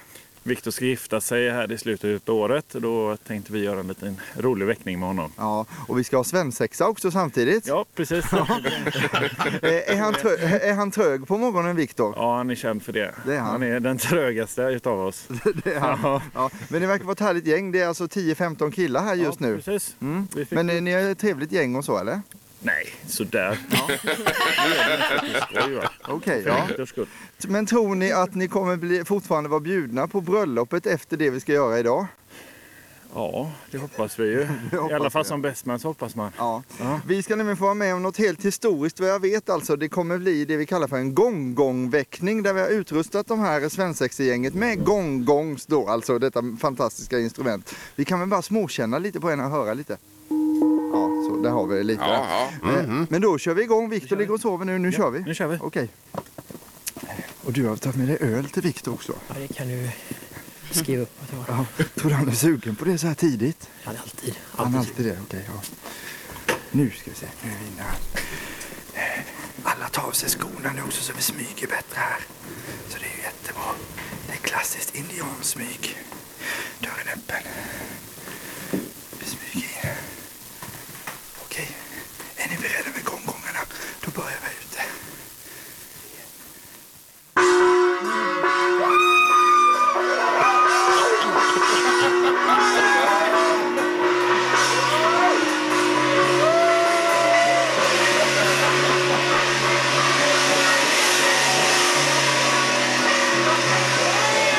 [SPEAKER 9] Viktor ska gifta sig här i slutet av året. Då tänkte vi göra en liten rolig väckning med honom.
[SPEAKER 5] Ja, och vi ska ha svensexa också samtidigt.
[SPEAKER 9] Ja, precis.
[SPEAKER 5] <laughs> Eh, är, han trö- är han trög på morgonen, Viktor?
[SPEAKER 9] Ja, han är känd för det.
[SPEAKER 5] Det är han.
[SPEAKER 9] är den trögaste utav oss.
[SPEAKER 5] Det är han.
[SPEAKER 9] Ja.
[SPEAKER 5] Ja, men det verkar vara ett härligt gäng. Det är alltså 10-15 killar här just
[SPEAKER 9] ja,
[SPEAKER 5] nu.
[SPEAKER 9] Precis. Vi fick...
[SPEAKER 5] Men eh, ni är ett trevligt gäng och så, eller?
[SPEAKER 9] Nej, sådär. Ja. Skoj, va?
[SPEAKER 5] Okej,
[SPEAKER 9] För
[SPEAKER 5] ja.
[SPEAKER 9] Viktors skull.
[SPEAKER 5] Men tror ni att ni kommer bli, fortfarande vara bjudna på bröllopet efter det vi ska göra idag?
[SPEAKER 9] Ja, det hoppas vi
[SPEAKER 5] <laughs>
[SPEAKER 9] ju.
[SPEAKER 5] hoppas
[SPEAKER 9] I alla fall
[SPEAKER 5] vi.
[SPEAKER 9] som bäst man så hoppas man.
[SPEAKER 5] Ja. Vi ska nämligen få vara med om något helt historiskt vad jag vet alltså. Det kommer bli det vi kallar för en gonggongväckning där vi har utrustat de här svensexegänget med gonggongs då, alltså detta fantastiska instrument. Vi kan väl bara småkänna lite på en och höra lite. Ja, så där har vi det lite.
[SPEAKER 1] Ja, ja. Mm-hmm.
[SPEAKER 5] Eh, Men då kör vi igång. Viktor ligger och sover nu. Nu kör vi.
[SPEAKER 9] nu kör vi.
[SPEAKER 5] Okej. Och du har tagit med dig öl till Viktor också. Ja, det kan du skriva upp. Ja, tror du han är sugen på det så här tidigt?
[SPEAKER 7] Han är alltid,
[SPEAKER 5] Han är alltid det, okej. ja. Nu ska vi se, nu är vi inne här. Alla tar av sig skorna nu också så vi smyger bättre här. Så det är ju jättebra. Det är klassiskt indiansmyg. Dörren öppen. Vi smyger in. Okej, är ni beredda med gonggongarna? Då börjar vi ute.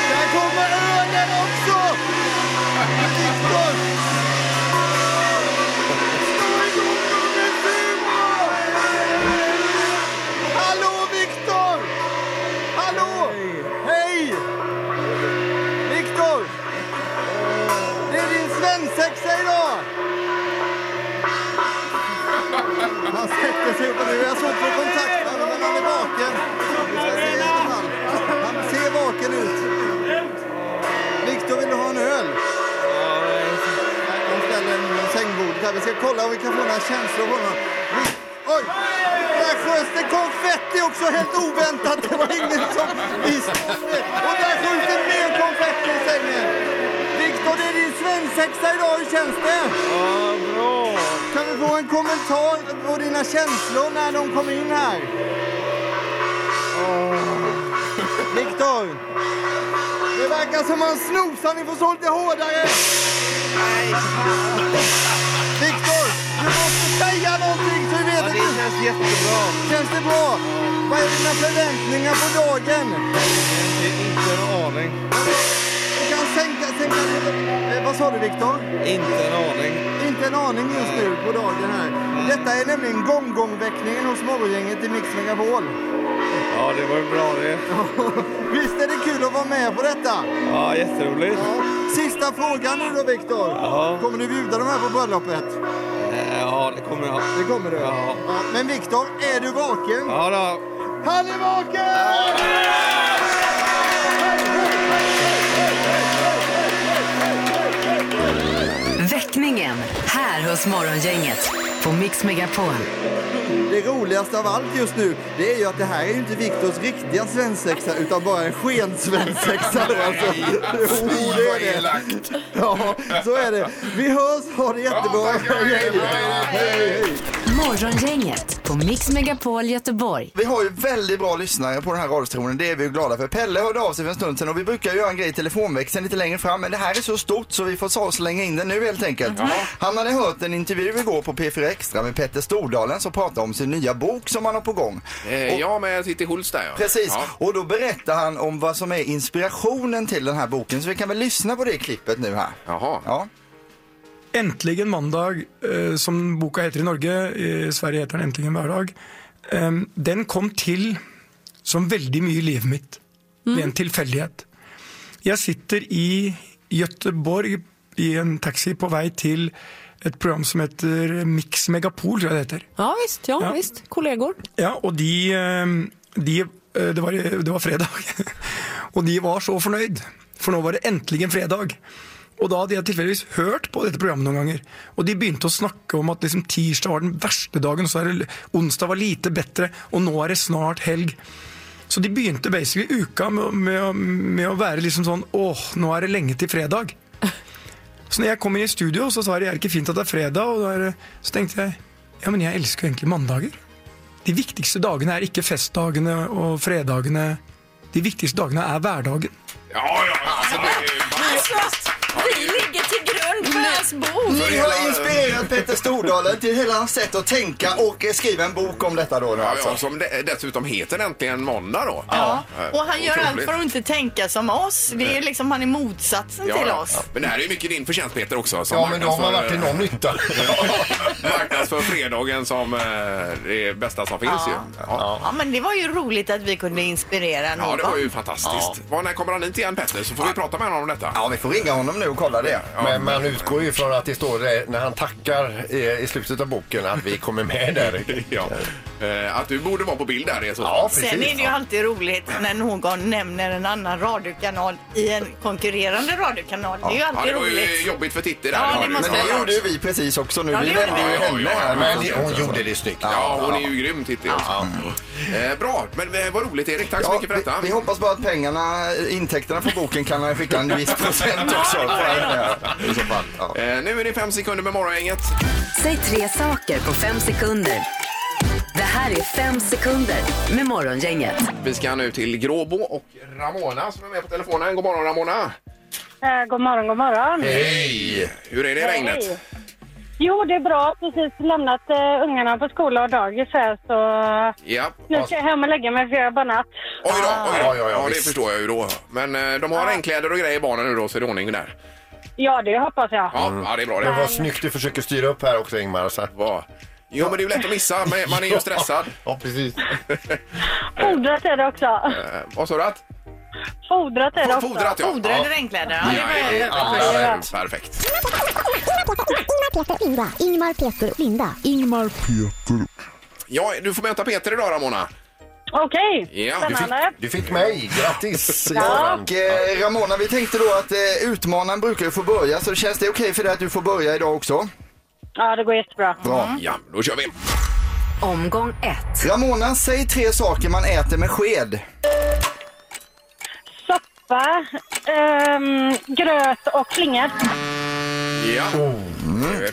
[SPEAKER 5] Där kommer ölen också! Viktor! Slå igång nummer fyra! Hallå Viktor! Hallå! Hej! Viktor! Det är din svensexa idag! Han sätter sig upp och nu. Jag såg på kontakten, men han är vaken. Det ska jag säga i alla fall. Han ser vaken ut. Viktor, vill du ha en öl? De ställer en sängbordet här. Vi ska kolla om vi kan få några känslor på honom. Vi- Oj! Där sköts det konfetti också, helt oväntat. Det var ingen som visste om det. Och där skjuts det mer konfetti i sängen. Viktor, det är din svensexa idag. Hur känns det? Kan vi få en kommentar på dina känslor när de kom in här? Åh. Viktor! Det verkar som han snosar. Ni får slå lite hårdare. Viktor, du måste säga någonting så vi vet att du...
[SPEAKER 7] känns jättebra.
[SPEAKER 5] Känns det bra? Vad är dina förväntningar på dagen?
[SPEAKER 7] Inte en aning.
[SPEAKER 5] Du kan sänka... sänka eh, vad sa du, Viktor?
[SPEAKER 7] Inte en aning.
[SPEAKER 5] Inte en aning just nu på dagen här. Detta är nämligen gonggongväckningen hos morgongänget i Mix Megapol.
[SPEAKER 7] Ja, det var ju bra det.
[SPEAKER 5] <laughs> Visst är det kul att vara med på detta?
[SPEAKER 7] Ja, jätteroligt.
[SPEAKER 5] Ja. Sista frågan nu då Viktor.
[SPEAKER 7] Ja. Eh,
[SPEAKER 5] Kommer du bjuda de här på bröllopet?
[SPEAKER 7] Ja, det kommer jag.
[SPEAKER 5] Det kommer du.
[SPEAKER 7] Ja.
[SPEAKER 5] Ja, Men Viktor, är du vaken?
[SPEAKER 7] Ja, då.
[SPEAKER 5] Han är vaken!
[SPEAKER 4] Väckningen här hos Morgongänget på Mix Megapol.
[SPEAKER 5] Det roligaste av allt just nu, det är ju att det här är ju inte Viktors riktiga svensexa utan bara en skensvensexa då alltså. Jo, det är det.
[SPEAKER 1] elakt.
[SPEAKER 5] Ja, så är det. Vi hörs, ha det jättebra.
[SPEAKER 4] Morgongänget på Mix Megapol Göteborg.
[SPEAKER 5] Vi har ju väldigt bra lyssnare på den här radiostationen, det är vi ju glada för. Pelle hörde av sig för en stund sedan och vi brukar ju göra en grej i telefonväxeln lite längre fram men det här är så stort så vi får så slänga in den nu helt enkelt. Han hade hört en intervju igår på P4 Extra med Petter Stordalen som pratade om sin nya bok som han har på gång.
[SPEAKER 1] Eh, ja, med Titti Hults där ja.
[SPEAKER 5] Precis,
[SPEAKER 1] Ja.
[SPEAKER 5] och då berättar han om vad som är inspirationen till den här boken så vi kan väl lyssna på det klippet nu här.
[SPEAKER 1] Jaha.
[SPEAKER 5] Ja.
[SPEAKER 7] Äntligen måndag, eh, som boka heter i Norge. I Sverige heter den Äntligen hverdag. Eh, den kom till som väldigt mycket i livet mitt. Ved en tillfällighet. Jag sitter i Göteborg i en taxi på väg till ett program som heter Mix Megapol, tror jag det heter.
[SPEAKER 10] Ja visst, ja,
[SPEAKER 7] Ja.
[SPEAKER 10] visst. Kollegor.
[SPEAKER 7] Ja, og de, eh, de eh, det, var, det var fredag. og de var så fornøyd, for nå var det endelig en fredag. Og da hadde jeg tilfeldigvis hørt på dette programmet noen ganger. Og de begynte å snakke om at liksom, tirsdag var den verste dagen, så er det, onsdag var lite bedre, og nå er det snart helg. Så de begynte basically uka med, med, å- med å være liksom sånn Åh, nå er det lenge til fredag. Så når jeg kom inn i studio, så sa de er det ikke fint at det er fredag. Og da er det, så tenkte jeg ja, men jeg elsker jo egentlig mandager. De viktigste dagene er ikke festdagene og fredagene. De viktigste dagene er hverdagen.
[SPEAKER 1] Ja, ja, alltså det är
[SPEAKER 10] Vi ligger till grund för hans bok.
[SPEAKER 5] Ni har inspirerat Petter Stordalen till hela hans sätt att tänka och eh, skriva en bok om detta då
[SPEAKER 1] Ja,
[SPEAKER 5] nu
[SPEAKER 1] ja,
[SPEAKER 5] alltså.
[SPEAKER 1] som de- dessutom heter äntligen måndag då.
[SPEAKER 2] Ja. Och han gör allt
[SPEAKER 1] Otroligt.
[SPEAKER 2] för att inte tänka som oss. Det är liksom, han är motsatsen
[SPEAKER 1] Ja,
[SPEAKER 2] till
[SPEAKER 1] ja.
[SPEAKER 2] oss.
[SPEAKER 1] Men det här är ju mycket din förtjänst Peter också. Som
[SPEAKER 3] Ja, men då har man varit till
[SPEAKER 1] marknadsför-
[SPEAKER 3] någon
[SPEAKER 1] <laughs>
[SPEAKER 3] nytta.
[SPEAKER 1] Marknadsför fredagen som eh, det bästa som finns ju. Ja.
[SPEAKER 2] Ja, men det var ju roligt att vi kunde inspirera någon.
[SPEAKER 1] ja, det var ju fantastiskt. Var, när kommer han hit igen Petter? Så får vi prata med honom om detta.
[SPEAKER 5] Ja, vi får ringa honom nu och kolla det.
[SPEAKER 3] Men man utgår ju från att det står det när han tackar i, i slutet av boken att vi kommer med där.
[SPEAKER 1] <laughs> Ja. Eh, Att du borde vara på bild där i så
[SPEAKER 3] Ja,
[SPEAKER 1] fall.
[SPEAKER 3] precis.
[SPEAKER 2] Sen är det ju alltid roligt när någon nämner en annan radiokanal i en konkurrerande radiokanal. Det är ju
[SPEAKER 1] Ja,
[SPEAKER 2] alltid
[SPEAKER 1] det var ju
[SPEAKER 2] roligt.
[SPEAKER 1] jobbigt för Titti där.
[SPEAKER 2] Ja, det
[SPEAKER 1] hörde du.
[SPEAKER 2] måste
[SPEAKER 5] Men
[SPEAKER 2] jag
[SPEAKER 5] det gjorde ju vi precis också nu.
[SPEAKER 2] Ja,
[SPEAKER 5] Vi
[SPEAKER 2] det gjorde
[SPEAKER 5] nämnde ju
[SPEAKER 2] vi.
[SPEAKER 5] henne här.
[SPEAKER 3] Men
[SPEAKER 5] Men...
[SPEAKER 3] det, hon gjorde det snyggt.
[SPEAKER 1] Ja, hon är ju grym Titti också. Eh, Bra, men eh, vad roligt Erik. Tack så
[SPEAKER 5] Ja,
[SPEAKER 1] mycket för
[SPEAKER 5] vi,
[SPEAKER 1] detta.
[SPEAKER 5] vi hoppas bara att pengarna, intäkterna på boken kan han skicka en viss procent också. För henne. I så fall. Ja.
[SPEAKER 1] Eh, Nu är det fem sekunder med Morgongänget.
[SPEAKER 4] Säg tre saker på fem sekunder. Det här är fem sekunder med Morgongänget.
[SPEAKER 1] Vi ska nu till Gråbo och Ramona som är med på telefonen. God morgon Ramona!
[SPEAKER 10] Eh, god morgon, god morgon.
[SPEAKER 1] Hej! Hur är det i regnet?
[SPEAKER 10] Jo, det är bra. Precis lämnat eh, ungarna på skola och dagis här så
[SPEAKER 1] Ja.
[SPEAKER 10] nu ska jag hem och lägga mig för jag har bannat.
[SPEAKER 1] Oj då,
[SPEAKER 5] Ah.
[SPEAKER 1] oj då.
[SPEAKER 3] Ja, ja,
[SPEAKER 1] Ja,
[SPEAKER 3] ja,
[SPEAKER 1] det
[SPEAKER 3] visst.
[SPEAKER 1] förstår jag ju då. Men eh, de har regnkläder och grejer i barnen nu då så är det ordning där.
[SPEAKER 10] Ja, det hoppas jag.
[SPEAKER 1] Ja,
[SPEAKER 5] Mm.
[SPEAKER 1] ja det är bra
[SPEAKER 3] Det var
[SPEAKER 1] det.
[SPEAKER 3] snyggt du försöker styra upp här också Ingmar. Så.
[SPEAKER 1] Bra. Jo, men det är ju lätt att missa. men Man är ju stressad.
[SPEAKER 3] Ja, precis.
[SPEAKER 10] Fodrat är det också.
[SPEAKER 1] Eh, Vad sa du att?
[SPEAKER 10] Fodrat är det också.
[SPEAKER 1] Fodrat, ja.
[SPEAKER 2] Fodrade regnkläder. Ja,
[SPEAKER 1] Ja,
[SPEAKER 2] det var
[SPEAKER 1] ja,
[SPEAKER 2] ju
[SPEAKER 1] ja, ja,
[SPEAKER 2] perfekt.
[SPEAKER 1] ja, ja. Perfekt.
[SPEAKER 11] Ingmar, Peter, Linda. Ingmar.
[SPEAKER 1] Ja, du får möta Peter idag, Ramona.
[SPEAKER 10] Okej,
[SPEAKER 1] Ja, du fick-
[SPEAKER 10] spännande.
[SPEAKER 3] Du fick mig. Grattis!
[SPEAKER 5] Och eh, Ramona, vi tänkte då att eh, utmanaren brukar ju få börja, så känns det okej för dig att du får börja idag också?
[SPEAKER 10] Ja, det går jättebra.
[SPEAKER 5] Bra.
[SPEAKER 1] Ja, då kör vi.
[SPEAKER 4] Omgång ett.
[SPEAKER 5] Ramona, säg tre saker man äter med sked.
[SPEAKER 10] Soppa, ehm, gröt och flingor.
[SPEAKER 1] Ja. Eh,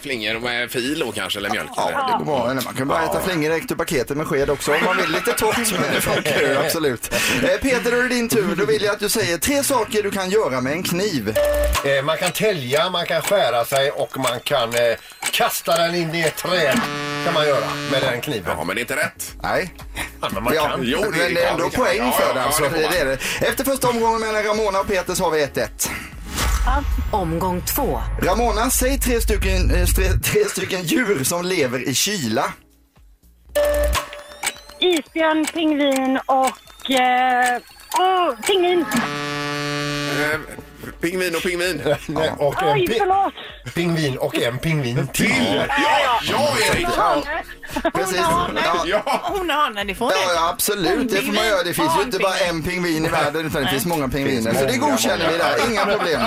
[SPEAKER 1] Flingor med fil då kanske, eller mjölk. eller-
[SPEAKER 5] Oh. Ja, det går bra. Eller man kan bara äta flingor direkt ur paketet med sked också om man vill. Lite torrt, men det funkar ju absolut. Eh, Peter, då är det din tur. Då vill jag att du säger tre saker du kan göra med en kniv.
[SPEAKER 3] Eh, man kan tälja, man kan skära sig och man kan eh, kasta den in i ett träd. kan man göra med den kniven.
[SPEAKER 1] Ja, men det är inte rätt.
[SPEAKER 5] Nej.
[SPEAKER 3] Ja, men man
[SPEAKER 5] Ja,
[SPEAKER 3] kan.
[SPEAKER 1] Jo, det
[SPEAKER 5] men det är
[SPEAKER 1] kan
[SPEAKER 5] ändå
[SPEAKER 1] vi kan. Ja,
[SPEAKER 5] poäng för
[SPEAKER 1] ja,
[SPEAKER 5] den.
[SPEAKER 1] ja,
[SPEAKER 5] Så
[SPEAKER 1] det får
[SPEAKER 5] det är det. Efter första omgången mellan Ramona och Peter så har vi 1-1.
[SPEAKER 4] Omgång två.
[SPEAKER 5] Ramona, säg tre stycken, eh, tre, tre stycken djur som lever i kyla.
[SPEAKER 10] Isbjörn, pingvin och... Eh, åh, pingvin!
[SPEAKER 1] Eh, Pingvin och pingvin.
[SPEAKER 3] Nej, Och en
[SPEAKER 10] Oj,
[SPEAKER 3] pi-
[SPEAKER 10] förlåt!
[SPEAKER 3] pingvin och en pingvin till.
[SPEAKER 1] Ja, ja, Erik!
[SPEAKER 5] Ja,
[SPEAKER 2] Hon
[SPEAKER 5] precis.
[SPEAKER 2] har hane.
[SPEAKER 5] Ja.
[SPEAKER 1] Ja.
[SPEAKER 2] Hon har hane, det får
[SPEAKER 5] Ja,
[SPEAKER 2] det.
[SPEAKER 5] ja, absolut. Det får man göra. Det finns ju inte bara en pingvin i världen utan det finns många pingviner. Så det godkänner vi där. Inga problem.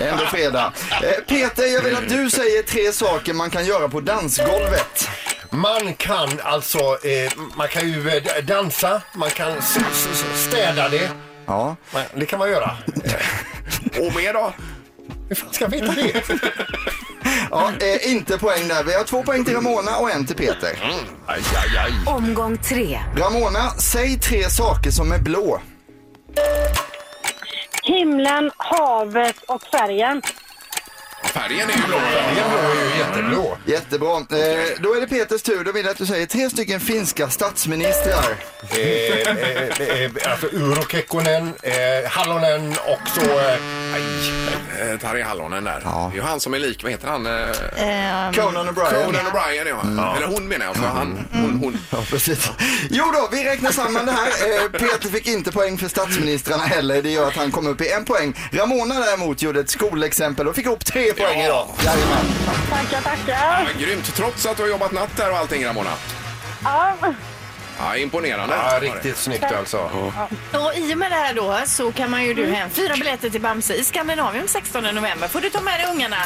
[SPEAKER 5] Ändå fredag. Eh, Peter, jag vill att du säger tre saker man kan göra på dansgolvet.
[SPEAKER 3] Man kan alltså, eh, man kan ju eh, d- dansa, man kan s- s- s- städa det.
[SPEAKER 5] Ja.
[SPEAKER 3] Man, det kan man göra.
[SPEAKER 1] Och mer då?
[SPEAKER 3] Hur fan ska vi veta det?
[SPEAKER 5] ja eh, inte poäng där. Vi har två poäng till Ramona och en till Peter.
[SPEAKER 4] Omgång tre.
[SPEAKER 5] Ramona, säg tre saker som är blå.
[SPEAKER 10] Himlen, havet och färgen.
[SPEAKER 1] Färgen är ju blå.
[SPEAKER 3] Den blå är ju jätteblå.
[SPEAKER 5] Jättebra. Eh, då är det Peters tur. Då vill jag att du säger tre stycken finska statsministrar.
[SPEAKER 3] Eh, eh, eh, alltså Urho Kekkonen, eh, Hallonen och så... Eh,
[SPEAKER 1] Eh, Tarja Hallonen där.
[SPEAKER 5] Ja. Eh,
[SPEAKER 1] Det är ju han som är lik, vad heter han? Eh,
[SPEAKER 2] Ehm,
[SPEAKER 5] Conan O'Brien.
[SPEAKER 1] Conan O'Brien ja. Eller hon menar jag, så han, hon, hon.
[SPEAKER 5] Ja, precis. Jo då, vi räknar samman det här. Eh, Peter fick inte poäng för statsministrarna heller. Det gör att han kom upp i en poäng. Ramona däremot gjorde ett skolexempel och fick ihop tre poäng
[SPEAKER 1] Ja.
[SPEAKER 5] idag. Jajamän.
[SPEAKER 10] Tackar, tackar.
[SPEAKER 1] Men grymt, trots att du har jobbat natt där och allting Ramona.
[SPEAKER 10] Ja,
[SPEAKER 1] Ja, imponerande.
[SPEAKER 3] ja, riktigt snyggt alltså.
[SPEAKER 2] Och I och med det här då så kan man ju du hem fyra biljetter till Bamse i Skandinavien 16 november. Får du ta med dig ungarna?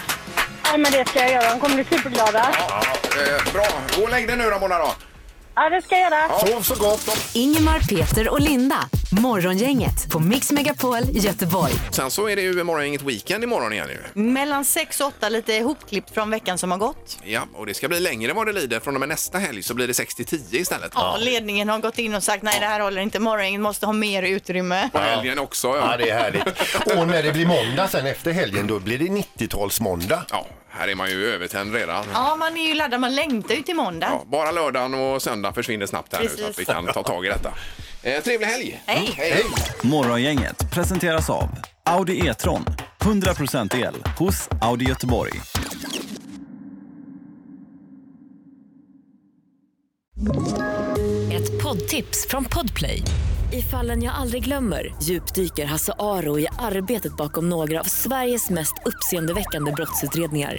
[SPEAKER 10] ja, men det ska jag göra. De kommer bli superglada.
[SPEAKER 1] Ja, eh, bra, gå och lägg dig nu Ramona då.
[SPEAKER 10] Ja, det ska jag göra.
[SPEAKER 4] Ingemar, Peter och Linda.
[SPEAKER 12] Morgongänget på Mix Megapol Göteborg.
[SPEAKER 1] Sen så är det ju imorgon inget weekend imorgon igen ju.
[SPEAKER 2] Mellan 6 och 8 lite ihopklippt från veckan som har gått.
[SPEAKER 1] Ja, och det ska bli längre vad det lider. Från och med nästa helg så blir det 6-10 istället.
[SPEAKER 2] Ja. Ledningen har gått in och sagt nej det här håller inte, morgonen måste ha mer utrymme.
[SPEAKER 1] På helgen också. Ja.
[SPEAKER 3] Ja, det är härligt. Och när det blir måndag sen efter helgen, då blir det 90-talsmåndag.
[SPEAKER 1] Ja, här är man ju övertänd redan.
[SPEAKER 2] Ja, man är ju laddad, man längtar ju till måndag.
[SPEAKER 1] Ja, bara lördagen och söndagen försvinner snabbt här nu så att vi
[SPEAKER 2] Precis.
[SPEAKER 1] kan ta tag i detta. Eh, trevlig helg!
[SPEAKER 2] Hej.
[SPEAKER 7] Morgongänget presenteras av Audi E-tron. 100% el hos Audi Göteborg.
[SPEAKER 4] Ett poddtips från Podplay. I fallen jag aldrig glömmer djupdyker Hasse Aro i arbetet bakom några av Sveriges mest uppseendeväckande brottsutredningar.